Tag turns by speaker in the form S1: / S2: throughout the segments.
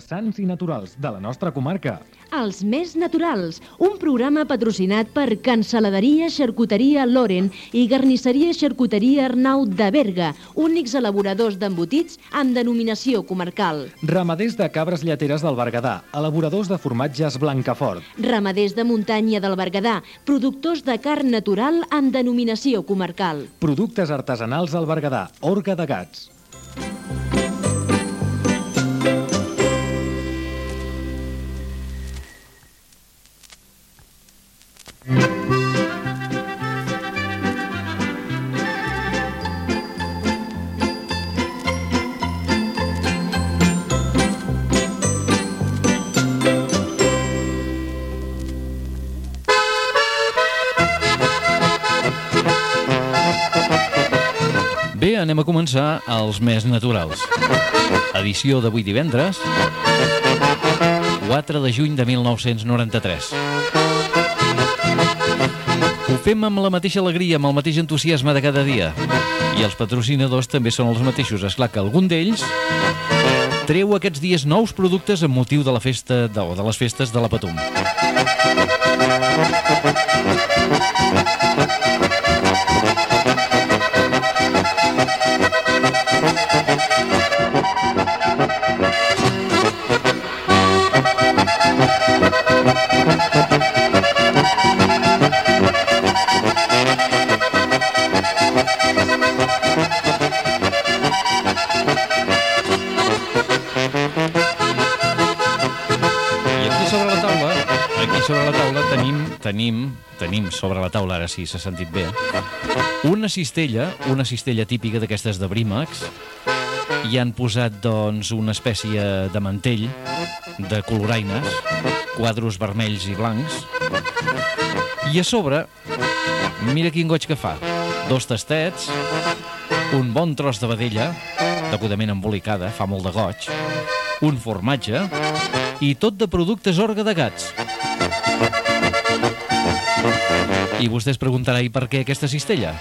S1: interessants i naturals de la nostra comarca.
S2: Els més naturals, un programa patrocinat per Cansaladeria Xarcuteria Loren i Garnisseria Xarcuteria Arnau de Berga, únics elaboradors d'embotits amb denominació comarcal.
S1: Ramaders de cabres lleteres del Berguedà, elaboradors de formatges Blancafort.
S2: Ramaders de muntanya del Berguedà, productors de carn natural amb denominació comarcal.
S1: Productes artesanals al Berguedà, orga de gats.
S3: Bé, anem a començar els més naturals. Edició d'avui divendres, 4 de juny de 1993. Ho fem amb la mateixa alegria, amb el mateix entusiasme de cada dia. I els patrocinadors també són els mateixos. És clar que algun d'ells treu aquests dies nous productes amb motiu de la festa de, o de les festes de la Patum. I aquí sobre la taula, aquí sobre la taula tenim, tenim, tenim sobre la taula, ara sí s'ha sentit bé, una cistella, una cistella típica d'aquestes de brímacs, hi han posat, doncs, una espècie de mantell de coloraines, quadros vermells i blancs, i a sobre, mira quin goig que fa, dos tastets, un bon tros de vedella, degudament embolicada, fa molt de goig, un formatge, i tot de productes orga de gats. I vostè es preguntarà, i per què aquesta cistella?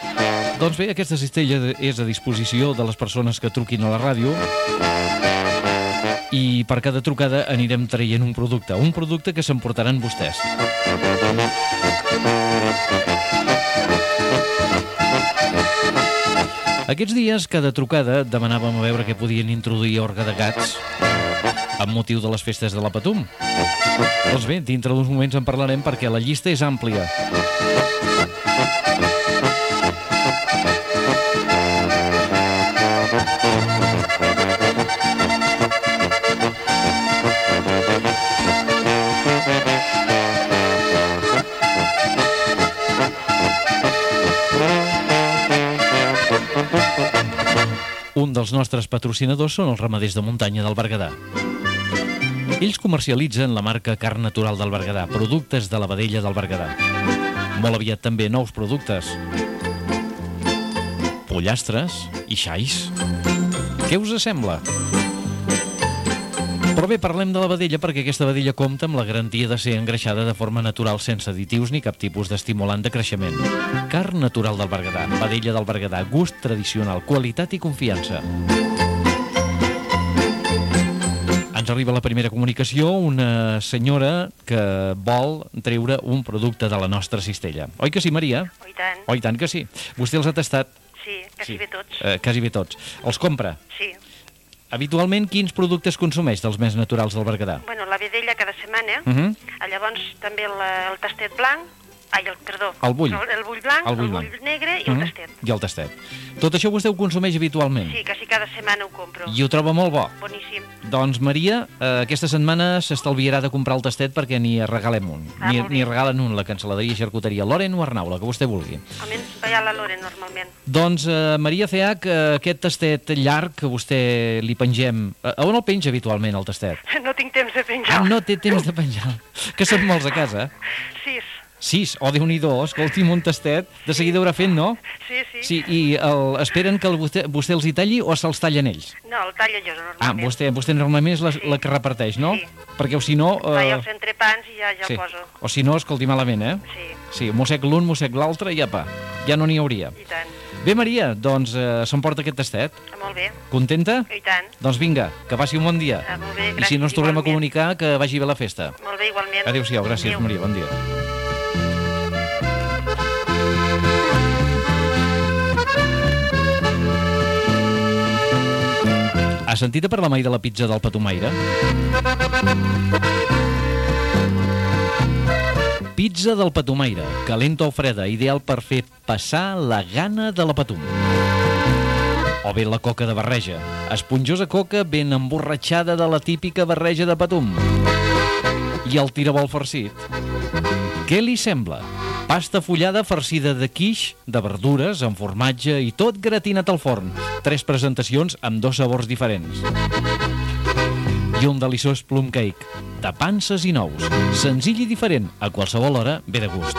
S3: Doncs bé, aquesta cistella és a disposició de les persones que truquin a la ràdio i per cada trucada anirem traient un producte, un producte que s'emportaran vostès. Aquests dies, cada trucada, demanàvem a veure què podien introduir a orga de gats amb motiu de les festes de la Patum. Doncs bé, dintre d'uns moments en parlarem perquè la llista és àmplia. Un dels nostres patrocinadors són els ramaders de muntanya del Berguedà. Ells comercialitzen la marca Carn Natural del Berguedà, productes de la vedella del Berguedà. Molt aviat també nous productes. Pollastres i xais. Què us sembla? Però bé, parlem de la vedella perquè aquesta vedella compta amb la garantia de ser engreixada de forma natural sense additius ni cap tipus d'estimulant de creixement. Carn natural del Berguedà, vedella del Berguedà, gust tradicional, qualitat i confiança. Ens arriba la primera comunicació, una senyora que vol treure un producte de la nostra cistella. Oi que sí, Maria?
S4: Oh, I tant.
S3: Oi tant que sí. Vostè els ha tastat?
S4: Sí, quasi sí. bé tots.
S3: Eh, quasi bé tots. Els compra.
S4: Sí.
S3: Habitualment, quins productes consumeix dels més naturals del Berguedà?
S4: Bueno, la vedella cada setmana. Uh
S3: Mhm.
S4: -huh. Llavors també la, el tastet blanc, ai, el, perdó.
S3: El bull.
S4: El, el bull blanc, el bull, el bull negre i uh -huh. el
S3: Mhm.
S4: tastet.
S3: I el tastet. Tot això vostè ho consumeix habitualment?
S4: Sí, quasi cada setmana ho compro.
S3: I ho troba molt bo?
S4: Boníssim.
S3: Doncs, Maria, eh, aquesta setmana s'estalviarà de comprar el tastet perquè n'hi regalem un.
S4: Ah,
S3: N'hi
S4: molt bé.
S3: n'hi regalen un, la cancel·laderia i xarcuteria Loren o Arnau, la que vostè vulgui.
S4: Almenys ballar la lore normalment.
S3: Doncs, eh, Maria CH, eh, aquest tastet llarg que vostè li pengem... Eh, a on el penja habitualment, el tastet?
S4: No tinc temps de penjar.
S3: Ah, no té temps de penjar, que són molts a casa.
S4: Sis.
S3: Sis, o oh, Déu-n'hi-do, escolti'm un tastet, de seguida haurà fent, no?
S4: Sí, sí.
S3: Sí, i el, esperen que el, vostè, vostè els hi talli o se'ls tallen ells?
S4: No, el talla jo normalment.
S3: Ah, vostè, vostè normalment és la, la que reparteix, no?
S4: Sí.
S3: Perquè o si no...
S4: Uh... Vaig
S3: eh,
S4: als entrepans i ja, ja
S3: sí.
S4: ho poso.
S3: O si no, escolti malament, eh?
S4: Sí,
S3: Sí, mossec l'un, mossec l'altre i apa, ja no n'hi hauria.
S4: i tant.
S3: Bé, Maria, doncs eh, s'emporta aquest tastet.
S4: Molt bé,
S3: Contenta?
S4: i tant.
S3: Doncs vinga, que passi un bon dia.
S4: Ah, molt bé,
S3: I si no ens tornem a
S4: gràcies, igualment.
S3: comunicar, que vagi bé la festa.
S4: Molt bé, igualment.
S3: Adéu-siau, gràcies,
S4: Adéu.
S3: Maria, bon dia. Has sentit a parlar mai de la pizza del Patumaire? Pizza del Patumaire, calenta o freda, ideal per fer passar la gana de la patum. O bé la coca de barreja, esponjosa coca ben emborratxada de la típica barreja de patum i el tirabol farcit. Què li sembla? Pasta fullada farcida de quiche, de verdures, amb formatge i tot gratinat al forn. Tres presentacions amb dos sabors diferents. I un deliciós plum cake, de panses i nous. Senzill i diferent, a qualsevol hora ve de gust.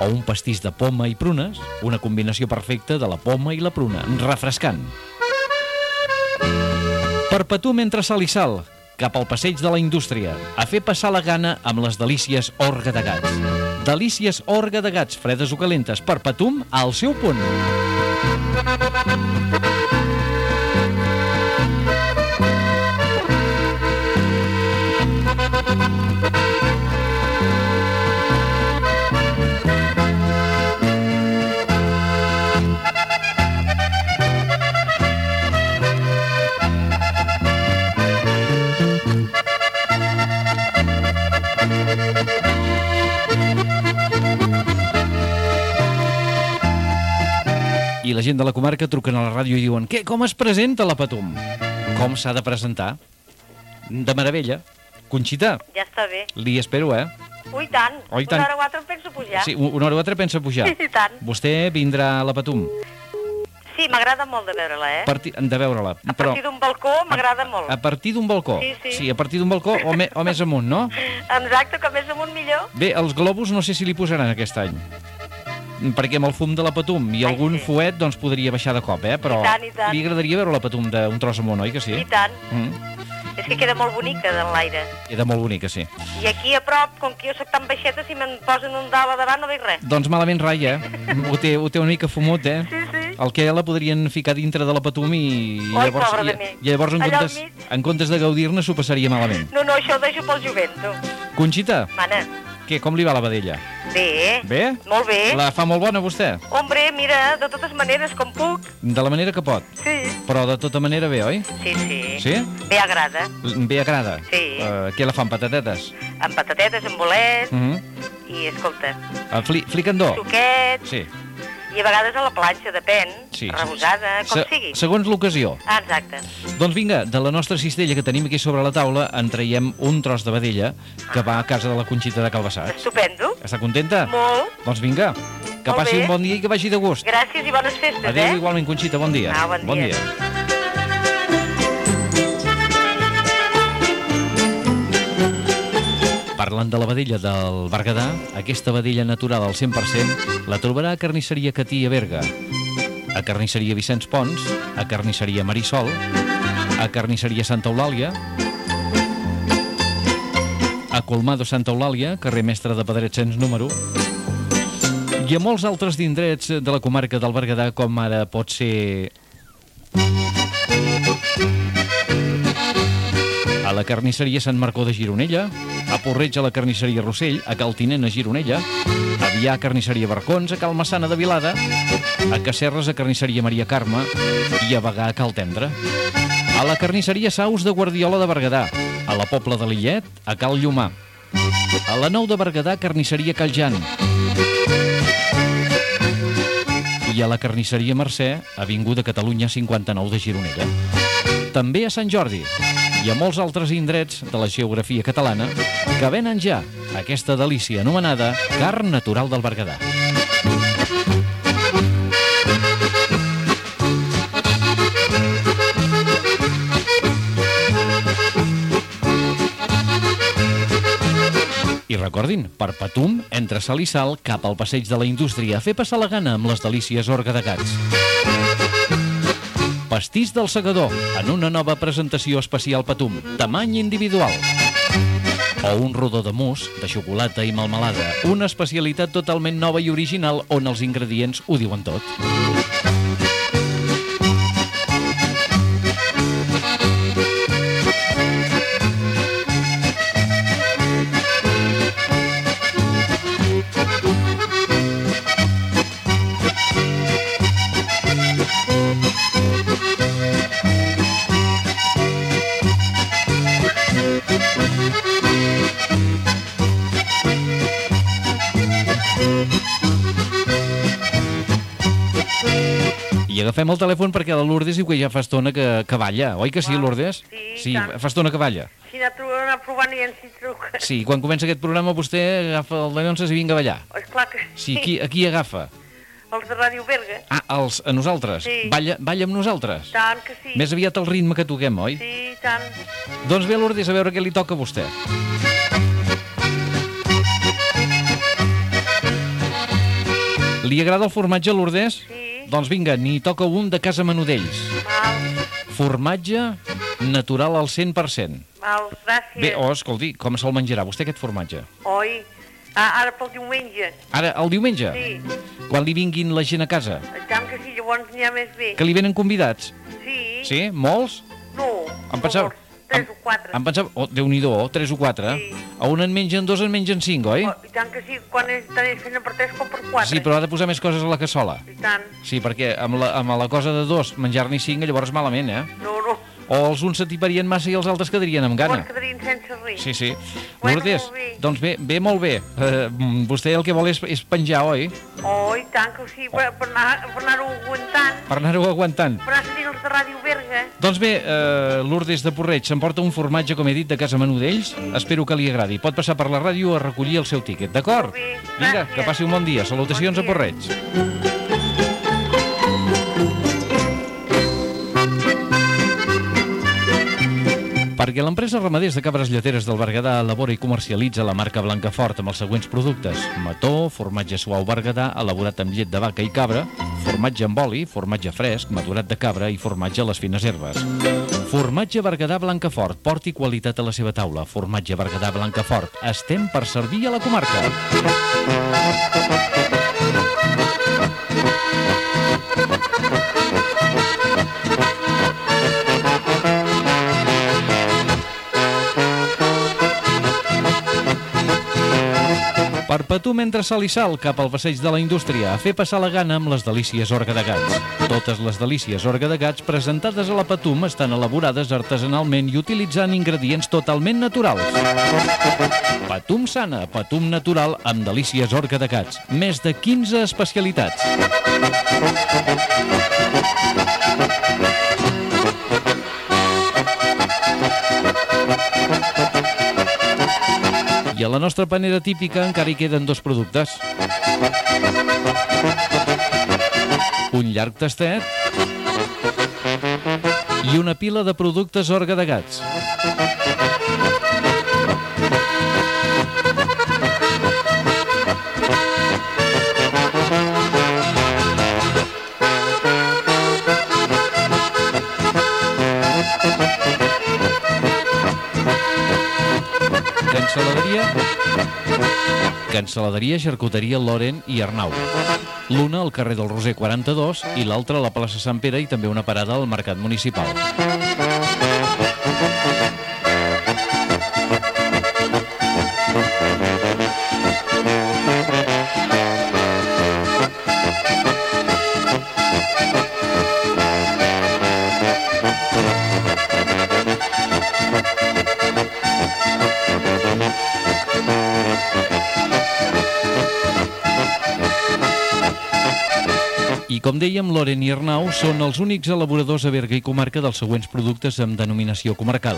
S3: O un pastís de poma i prunes, una combinació perfecta de la poma i la pruna, refrescant. Perpetuum entre sal i sal, cap al passeig de la indústria, a fer passar la gana amb les delícies orga de gats. Delícies orga de gats, fredes o calentes, perpetuum al seu punt. I la gent de la comarca truquen a la ràdio i diuen «Què, com es presenta la Patum?» Com s'ha de presentar? De meravella. Conxita,
S4: Ja està bé.
S3: li espero, eh?
S4: Ui, tant.
S3: Oi, tant.
S4: Una hora o altra em penso pujar.
S3: Sí, una hora o altra pensa pujar.
S4: Sí, sí, tant. Eh?
S3: Vostè vindrà a la Patum
S4: Sí, m'agrada molt de veure-la, eh?
S3: parti... de veure-la.
S4: A partir d'un balcó m'agrada molt.
S3: A partir d'un balcó?
S4: Sí, sí.
S3: sí a partir d'un balcó o, me, o més amunt, no?
S4: Exacte, com més amunt millor.
S3: Bé, els globus no sé si li posaran aquest any. Perquè amb el fum de la Patum i
S4: Ai,
S3: algun
S4: sí.
S3: fuet doncs podria baixar de cop, eh? Però
S4: I tant, i tant.
S3: li agradaria veure la Patum d'un tros amunt, oi que sí?
S4: I tant.
S3: Mm.
S4: És que queda molt bonica de l'aire.
S3: Queda molt bonica, sí.
S4: I aquí a prop, com que jo sóc tan baixeta, si me'n posen un dalt a davant no veig res.
S3: Doncs malament ratlla, eh? Ho té, ho té una mica fumut, eh?
S4: Sí, sí.
S3: El que la podrien ficar dintre de la Patum i, i
S4: Ai,
S3: llavors,
S4: pobra de
S3: i,
S4: mi.
S3: i llavors en,
S4: Allà al
S3: comptes,
S4: mig.
S3: en comptes de gaudir-ne s'ho passaria malament.
S4: No, no, això ho deixo pel jovent, tu.
S3: Conxita,
S4: Mana,
S3: què, com li va la vedella?
S4: bé. eh?
S3: Bé?
S4: Molt bé. La...
S3: La fa molt bona, vostè?
S4: Hombre, mira, de totes maneres, com puc.
S3: De la manera que pot.
S4: Sí.
S3: Però de tota manera bé, oi?
S4: Sí, sí.
S3: Sí?
S4: Bé agrada.
S3: Bé agrada.
S4: Sí.
S3: Eh, què la fan, patatetes?
S4: Amb patatetes, amb bolets,
S3: Mm
S4: mm. i escolta,
S3: -hmm. Fli Flicandó.
S4: suquets,
S3: Sí,
S4: i a vegades a la planxa, depèn,
S3: sí.
S4: rebosada, com
S3: Se-
S4: sigui.
S3: Segons l'ocasió.
S4: Ah, exacte.
S3: Doncs vinga, de la nostra cistella que tenim aquí sobre la taula en traiem un tros de vedella que va a casa de la Conxita de Calbassats.
S4: Estupendo.
S3: Està contenta?
S4: Molt.
S3: Doncs vinga, que
S4: Molt
S3: passi
S4: bé.
S3: un bon dia i que vagi de gust.
S4: Gràcies i bones festes,
S3: Adéu,
S4: eh?
S3: igualment, Conxita, bon dia.
S4: Au, bon dia.
S3: Parlant de la vedella del Berguedà, aquesta vedella natural al 100% la trobarà a Carnisseria Catí a Berga, a Carnisseria Vicenç Pons, a Carnisseria Marisol, a Carnisseria Santa Eulàlia, a Colmado Santa Eulàlia, carrer Mestre de Pedret 100 número i a molts altres d'indrets de la comarca del Berguedà, com ara pot ser... A la carnisseria Sant Marcó de Gironella, a Porreig a la carnisseria Rossell, a Caltinent a Gironella, a Vià a carnisseria Barcons, a Calmassana de Vilada, a Cacerres a carnisseria Maria Carme i a Bagà a Caltendre. A la carnisseria Saus de Guardiola de Berguedà, a la Pobla de Lillet, a Cal Llumà. A la Nou de Berguedà, carnisseria Caljan, i a la carnisseria Mercè, Avinguda Catalunya 59 de Gironella. També a Sant Jordi i a molts altres indrets de la geografia catalana que venen ja aquesta delícia anomenada carn natural del Berguedà. I recordin, perpetum, entre sal i sal, cap al passeig de la indústria, a fer passar la gana amb les delícies orga de gats. Pastís del segador, en una nova presentació especial Patum, tamany individual. o un rodó de mousse, de xocolata i melmelada. Una especialitat totalment nova i original on els ingredients ho diuen tot. I agafem el telèfon perquè la Lourdes diu que ja fa estona que, que balla, oi que sí, Lourdes?
S4: Ah, Sí,
S3: sí
S4: tant.
S3: fa estona que balla.
S4: Si anar trobant, anar provant i ens hi truques.
S3: Sí, quan comença aquest programa vostè agafa el de Llonses i vinga a ballar.
S4: Esclar que
S3: Sí, aquí, aquí agafa.
S4: Els de Ràdio Berga.
S3: Ah, els, a nosaltres.
S4: Sí.
S3: Balla, balla amb nosaltres.
S4: Tant que sí.
S3: Més aviat el ritme que toquem, oi?
S4: Sí, tant.
S3: Doncs bé, Lourdes, a veure què li toca a vostè. Li agrada el formatge, Lourdes?
S4: Sí.
S3: Doncs vinga, n'hi toca un de Casa Menudells.
S4: Val,
S3: Formatge natural al 100%.
S4: val, gràcies.
S3: Bé, oh, escolti, com se'l menjarà vostè, aquest formatge?
S4: Oi? Ah, ara pel diumenge.
S3: Ara, el diumenge,
S4: Sí,
S3: quan li vinguin la gent a casa,
S4: tant que sí, llavors n'hi ha més bé.
S3: que li venen convidats.
S4: Sí.
S3: Sí? Molts?
S4: No.
S3: Em pensava...
S4: favor, Tres
S3: em-
S4: o quatre.
S3: Em pensava... Oh, Déu-n'hi-do, tres o quatre.
S4: Sí.
S3: A un en mengen dos, en mengen cinc, oi?
S4: Oh, I tant que sí, quan és, tant és fent per tres com per quatre.
S3: Sí, però ha de posar més coses a la cassola.
S4: I tant.
S3: Sí, perquè amb la, amb la cosa de dos, menjar-n'hi cinc, llavors malament, eh?
S4: No, no.
S3: O els uns s'atiparien massa i els altres quedarien amb gana.
S4: Llavors quedarien sense res.
S3: Sí, sí.
S4: Bueno,
S3: Lourdes,
S4: molt bé.
S3: doncs bé, bé, molt bé. Uh, vostè el que vol és, és penjar, oi?
S4: Oh, i tant que sí, per, per anar- per anar-ho aguantant.
S3: Per anar-ho aguantant.
S4: Per anar sentint els de Ràdio Berga.
S3: Doncs bé, uh, Lourdes de Porreig s'emporta un formatge, com he dit, de casa Menudells. Espero que li agradi. Pot passar per la ràdio a recollir el seu tíquet, d'acord?
S4: Molt bé,
S3: Vinga,
S4: gràcies.
S3: que passi un bon dia. Salutacions a
S4: Bon dia.
S3: Porreig. Perquè l'empresa Ramaders de Cabres Lleteres del Berguedà elabora i comercialitza la marca Blancafort amb els següents productes. Mató, formatge suau Berguedà, elaborat amb llet de vaca i cabra, formatge amb oli, formatge fresc, madurat de cabra i formatge a les fines herbes. Formatge Berguedà Blancafort, porti qualitat a la seva taula. Formatge Berguedà Blancafort, estem per servir a la comarca. Perpetú mentre sal i sal cap al passeig de la indústria a fer passar la gana amb les delícies Orga de Gats. Totes les delícies Orga de Gats presentades a la Patum estan elaborades artesanalment i utilitzant ingredients totalment naturals. Patum sana, Patum natural amb delícies Orga de Gats. Més de 15 especialitats. I a la nostra panera típica encara hi queden dos productes. Un llarg tastet i una pila de productes orga de gats. Canceladeria... Canceladeria, xarcuteria Loren i Arnau. L'una al carrer del Roser 42 i l'altra a la plaça Sant Pere i també una parada al Mercat Municipal. I com dèiem, Loren i Arnau són els únics elaboradors a Berga i comarca dels següents productes amb denominació comarcal.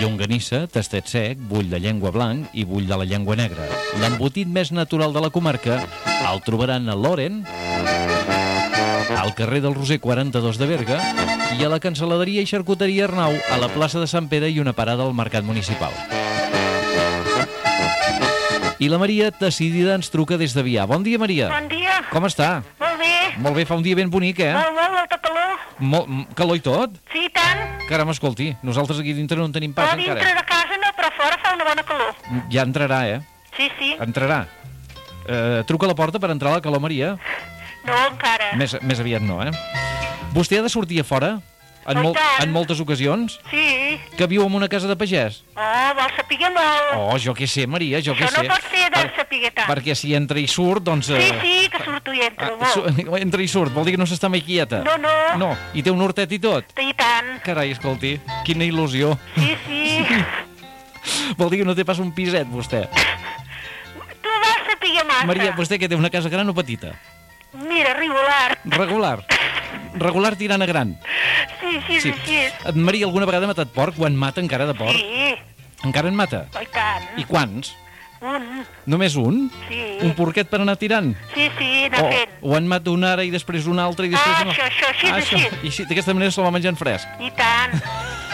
S3: Llonganissa, tastet sec, bull de llengua blanc i bull de la llengua negra. L'embotit més natural de la comarca el trobaran a Loren, al carrer del Roser 42 de Berga i a la canceladeria i xarcuteria Arnau a la plaça de Sant Pere i una parada al Mercat Municipal. I la Maria, decidida, ens truca des de Vià. Bon dia, Maria.
S4: Bon dia.
S3: Com està?
S4: Molt bé.
S3: Molt bé, fa un dia ben bonic, eh?
S4: Molt, molt, molta calor.
S3: Molt, calor i tot?
S4: Sí, i tant.
S3: Caram, escolti, nosaltres aquí dintre no en tenim pas
S4: Però Ah, dintre
S3: encara.
S4: de casa no, però fora fa una bona calor.
S3: Ja entrarà, eh?
S4: Sí, sí.
S3: Entrarà. Eh, truca a la porta per entrar a la calor, Maria.
S4: No, encara.
S3: Més, més aviat no, eh? Vostè ha de sortir a fora? En,
S4: Oh, i
S3: mol,
S4: tant.
S3: en moltes ocasions?
S4: Sí.
S3: Que viu en una casa de pagès?
S4: Oh, vol saber molt.
S3: Oh, jo què sé, Maria, jo què
S4: Ah.
S3: sé.
S4: Això no pot ser de saber tant.
S3: Perquè si entra i surt, doncs...
S4: Sí,
S3: eh,
S4: sí, que surto i entro,
S3: ah, su-
S4: molt.
S3: entra i surt, vol dir que no s'està mai quieta.
S4: No, no.
S3: No, i té un hortet i tot.
S4: I tant.
S3: Carai, escolti, quina il·lusió.
S4: Sí, sí.
S3: Vol dir que no té pas un piset, vostè.
S4: Tu vols saber massa.
S3: Maria, vostè que té una casa gran o petita?
S4: Mira, regular.
S3: Regular. Regular tirant a gran.
S4: Sí, sí, sí, sí.
S3: En Maria, alguna vegada ha matat porc? Ho en mata encara de porc?
S4: Sí,
S3: Encara en mata?
S4: oh, i tant.
S3: I quants?
S4: Un,
S3: Només un?
S4: sí.
S3: Un porquet per anar tirant?
S4: Sí, sí, anar
S3: O,
S4: fent.
S3: o en mata una ara i després una altra i després
S4: Ah,
S3: una...
S4: això, això, així, així.
S3: I així, d'aquesta manera se la mengen fresc.
S4: I tant.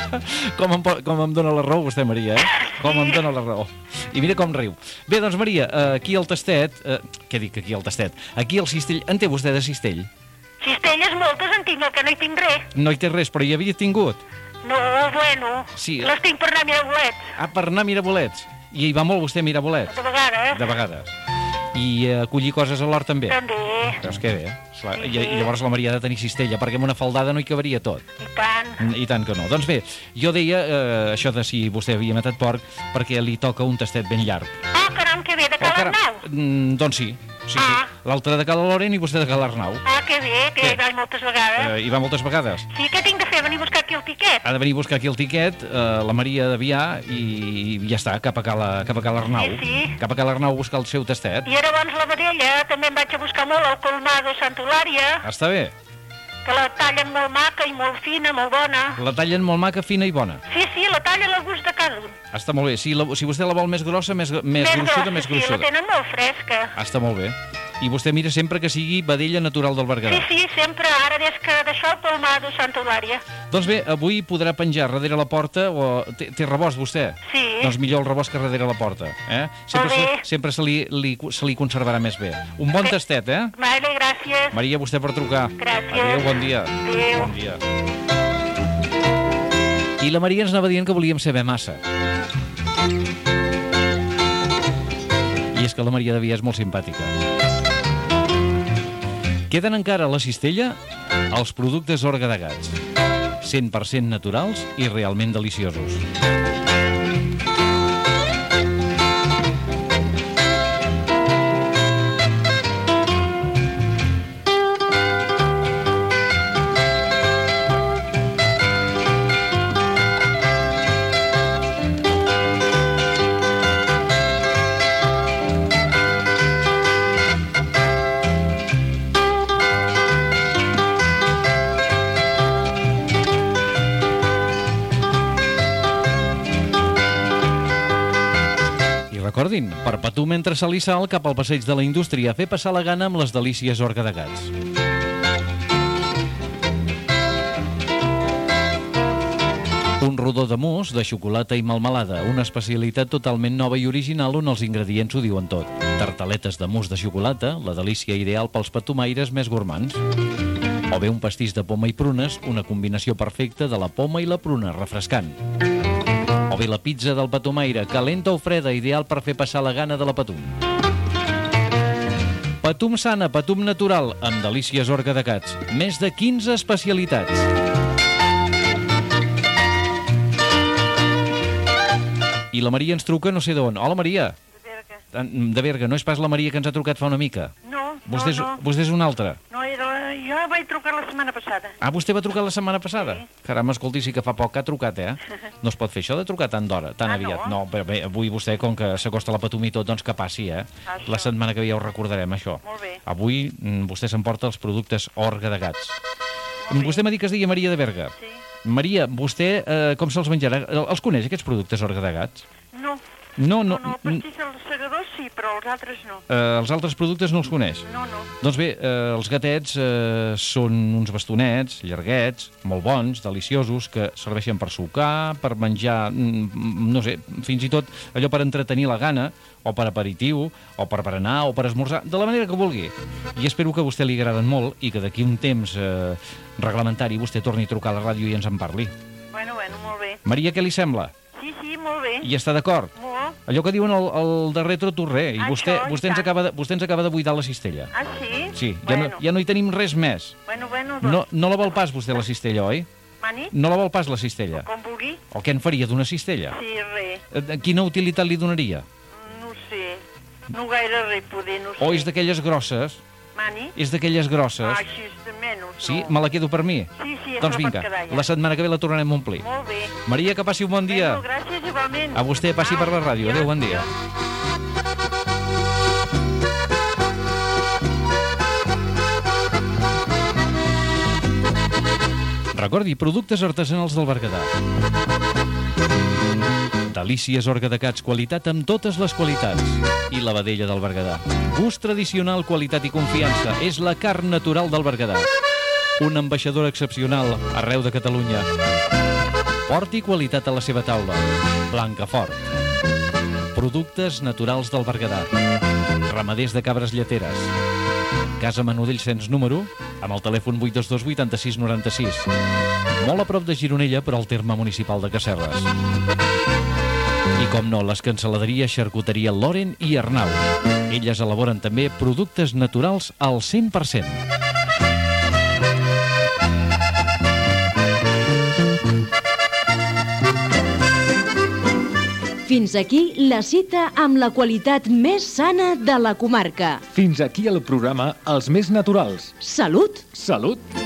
S3: Com em, po- com em dóna la raó vostè, Maria, eh? Com em dóna la raó. I mira com riu. Bé, doncs, Maria, eh, aquí al tastet... Eh, què dic, aquí al tastet? Aquí al cistell... En té vostè de cistell?
S4: Cistelles moltes en tinc, el que no hi tinc res.
S3: No hi té res, però hi havia tingut.
S4: No, bueno,
S3: Sí.
S4: les tinc per anar a miragolets,
S3: A Ah, per anar a mirabolets. I hi va molt vostè a mirabolets,
S4: de vegades.
S3: de vegades. I eh, a collir coses a l'hort també.
S4: També,
S3: Veus que bé? eh? Clar, i, I llavors la Maria ha de tenir cistella, perquè amb una faldada no hi cabaria tot.
S4: i tant.
S3: I tant que no. Doncs bé, jo deia eh, això de si vostè havia matat porc perquè li toca un tastet ben llarg.
S4: Ah, caram, que bé, de
S3: Oh,
S4: Cal
S3: caram.
S4: Arnau.
S3: Mm, doncs sí. sí, sí.
S4: Ah.
S3: L'altre de Cala Loren i vostè de Cala Arnau.
S4: Ah, que bé, que
S3: Què?
S4: hi vaig moltes vegades.
S3: Eh, hi va moltes vegades.
S4: Sí, què tinc de fer? Venir a buscar aquí el tiquet?
S3: Ha de venir a buscar aquí el tiquet, eh, la Maria de Vià, i, i ja està, cap a Cala, cap a Cala Arnau.
S4: Sí, sí.
S3: Cap a Cala Arnau a buscar el seu tastet.
S4: I ara abans la vedella, també em vaig a buscar molt al Colmado Santolària,
S3: Està bé.
S4: que la tallen molt maca i molt fina, molt bona.
S3: La tallen molt maca, fina i bona.
S4: Sí, sí, la tallen al gust de cada un.
S3: Està molt bé. Si, la, si vostè la vol més grossa, més, més, més grossuda, més Ah,
S4: sí, la
S3: grossuda.
S4: tenen molt fresca.
S3: Està molt bé. I vostè mira sempre que sigui vedella natural del Berguedà.
S4: Sí, sí, sempre, ara des que d'això el Palmado Santa Eulària.
S3: Doncs bé, avui podrà penjar darrere la porta o... Té, té rebost, vostè?
S4: Sí.
S3: Doncs millor el rebost que darrere la porta, eh? Sempre,
S4: Molt
S3: se,
S4: bé.
S3: sempre se, li, li, se li conservarà més bé. Un bon tastet, eh?
S4: Vale, gràcies.
S3: Maria, vostè per trucar.
S4: Gràcies.
S3: Adéu, bon dia.
S4: Adéu.
S3: Bon dia. I la Maria ens anava dient que volíem saber massa. I és que la Maria de Via és molt simpàtica. Queden encara a la cistella els productes Orga de Gats. 100% naturals i realment deliciosos. I recordin, perpetu mentre se li sal cap al passeig de la indústria a fer passar la gana amb les delícies Orga de Gats. Un rodó de mousse, de xocolata i melmelada, una especialitat totalment nova i original on els ingredients ho diuen tot. Tartaletes de mousse de xocolata, la delícia ideal pels patumaires més gormands. O bé un pastís de poma i prunes, una combinació perfecta de la poma i la pruna, refrescant. O bé la pizza del patumaire, calenta o freda, ideal per fer passar la gana de la patum. Patum sana, patum natural, amb delícies orga de gats. Més de 15 especialitats. I la Maria ens truca no sé d'on. Hola, Maria. En- De Berga, no és pas la Maria que ens ha trucat fa una mica.
S4: No,
S3: Vostè és,
S4: no, no.
S3: vostè és una altra.
S4: No, era, la- jo vaig trucar la setmana passada.
S3: Ah, vostè va trucar la setmana passada? Sí. Caram, escolti, sí que fa poc que ha trucat, eh? No es pot fer això de trucar tant d'hora, tan
S4: Ah,
S3: aviat.
S4: no?
S3: no, però bé, avui vostè, com que s'acosta la patum i tot, doncs que passi, eh?
S4: Ah, Això.
S3: La setmana que ve ja ho recordarem, això.
S4: Molt bé.
S3: Avui mm, vostè s'emporta els productes Orga de Gats. Vostè m'ha dit que es deia Maria de Berga.
S4: Sí.
S3: Maria, vostè eh, com se'ls menjarà? El- Els coneix, aquests productes Orga de Gats?
S4: No,
S3: No, no...
S4: no, no, el pastís dels segadors sí, però els altres no.
S3: eh, els altres productes no els coneix.
S4: No, no.
S3: Doncs bé, eh, els gatets eh, són uns bastonets llarguets, molt bons, deliciosos, que serveixen per sucar, per menjar, mm, no sé, fins i tot allò per entretenir la gana, o per aperitiu, o per berenar, o per esmorzar, de la manera que vulgui. I espero que a vostè li agraden molt i que d'aquí un temps eh, reglamentari vostè torni a trucar a la ràdio i ens en parli.
S4: Bueno, bueno, molt bé.
S3: Maria, què li sembla?
S4: Sí, sí, molt bé.
S3: I està d'acord?
S4: Molt.
S3: Allò que diuen el, el darrer tot o res. I
S4: Això,
S3: vostè,
S4: i
S3: vostè, ens
S4: tant.
S3: acaba de, vostè ens acaba de buidar la cistella.
S4: Ah, sí?
S3: Sí, ja,
S4: bueno.
S3: no, ja no hi tenim res més.
S4: Bueno, bueno, doncs...
S3: No, no la vol pas vostè, la cistella, oi?
S4: Mani,
S3: No la vol pas, la cistella.
S4: com vulgui.
S3: O què en faria d'una cistella?
S4: Sí, res.
S3: Eh, Quina utilitat li donaria?
S4: No ho sé. No gaire res, poder, no ho sé.
S3: O és d'aquelles grosses?
S4: Mani?
S3: És d'aquelles
S4: Ah,
S3: grosses?
S4: així és de menys,
S3: Sí?
S4: no.
S3: Me la quedo per mi?
S4: Sí, sí,
S3: Doncs
S4: això
S3: vinga,
S4: pot quedar ja.
S3: la setmana que ve la tornarem a omplir.
S4: Molt bé.
S3: Maria, que passi un bon dia.
S4: Bueno, gràcies igualment.
S3: A vostè, passi per la ràdio. Adéu, bon dia. Recordi, productes artesanals del Berguedà. Delícies orga de cats, qualitat amb totes les qualitats. I la vedella del Berguedà. Gust tradicional, qualitat i confiança. És la carn natural del Berguedà. Una ambaixadora excepcional arreu de Catalunya. Porti qualitat a la seva taula. Blancafort. Productes naturals del Berguedà. Ramaders de cabres lleteres. Casa Manudell Cens número amb el telèfon 822 86 96. Molt a prop de Gironella, però al terme municipal de Casserres. I com no, les canceladeries Xarcuteria Loren i Arnau. Elles elaboren també productes naturals al 100%.
S2: Fins aquí la cita amb la qualitat més sana de la comarca.
S1: Fins aquí el programa Els més naturals.
S2: Salut!
S1: Salut!